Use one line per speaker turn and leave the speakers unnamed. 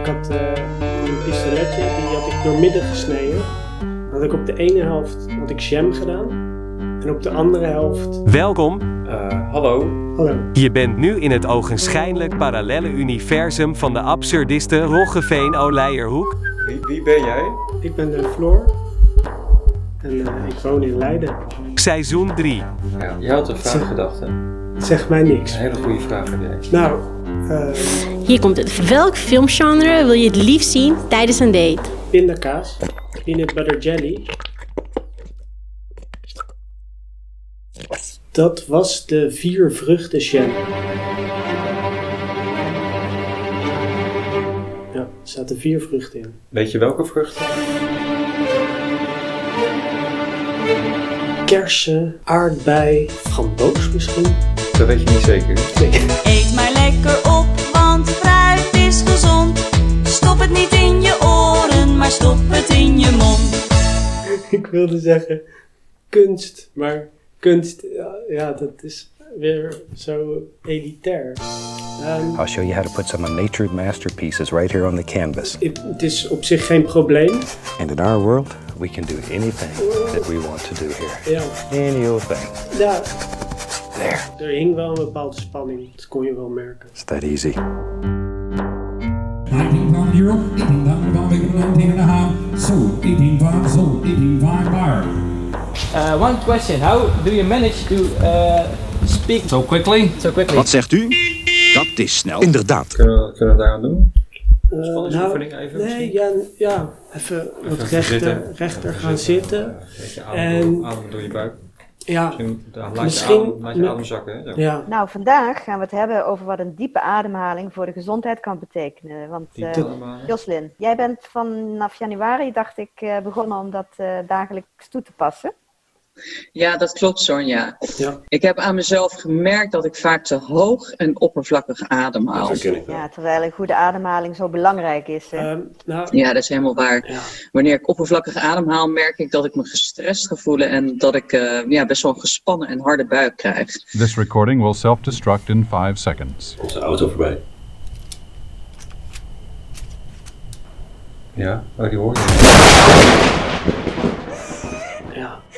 Ik had eh, een pistoletje, die had ik doormidden gesneden. Dat had ik op de ene helft had ik jam gedaan. En op de andere helft...
Welkom,
Eh, hallo,
Hallo.
je bent nu in het ogenschijnlijk parallele universum van de absurdiste Roggeveen Oleierhoek.
wie, wie ben jij?
Ik ben de Floor. En eh, ik woon in Leiden.
Seizoen 3.
Ja, jij had een vraag gedacht, hè? Een
Het zegt mij niks.
hele goede vraag heb jij.
Nou, eh,
Hier komt het. Welk filmgenre wil je het liefst zien tijdens een date?
pindakaas, peanut butter jelly. Dat was de vier vruchten jam. Ja, er zaten vier vruchten in.
Weet je welke vruchten?
Kersen, aardbei, framboos misschien.
Dat weet je niet zeker.
Nee.
Eet maar lekker op, want fruit is gezond. Stop het niet in je oren, maar stop het in je mond.
Ik wilde zeggen kunst, maar kunst, ja, ja, dat is weer zo elitair. Ehm,
I'll show you how to put some of nature's masterpieces right here on the canvas.
ik- het is op zich geen probleem.
And in our world, we can do anything that we want to do here.
Ja.
Any old thing.
Ja,
There.
er hing wel een bepaalde spanning. Dat kon je wel merken.
It's that easy.
1990, dan kwam ik een 19 en een half. Zo, 18 vaak, zo, 18 vaak, waar.
Uh, one question: How do you manage to uh, speak so quickly? So quickly.
zegt u? Dat is snel. Inderdaad.
Kunnen we, kunnen we daaraan doen?
Eh,
Spanningsoefening even
Nee,
misschien?
ja, ja, even wat
gaan
rechter,
zitten.
rechter gaan zitten.
Een beetje adem,
En-
adem door je buik.
Ja,
Misschien eh, laat je,
Misschien-
adem, laat je adem zakken, hè? Zo.
ja.
Nou, vandaag gaan we het hebben over wat een diepe ademhaling voor de gezondheid kan betekenen. Want
Die
eh,
ademhaling.
Joslin, jij bent vanaf januari, dacht ik, eh, begonnen om dat eh, dagelijks toe te passen.
Ja, dat klopt, Sonja.
Ja.
Ik heb aan mezelf gemerkt dat ik vaak te hoog en oppervlakkig ademhaal.
Ja, terwijl een goede ademhaling zo belangrijk is. hè.
Ehm, nou,
Ja, dat is helemaal waar.
Ja.
Wanneer ik oppervlakkig ademhaal, merk ik dat ik me gestrest ga voelen en dat ik eh, ja, best wel een gespannen en harde buik krijg.
This recording will self-destruct in 5 seconds.
Onze auto voorbij.
Ja, oh, die hoor je.
ja.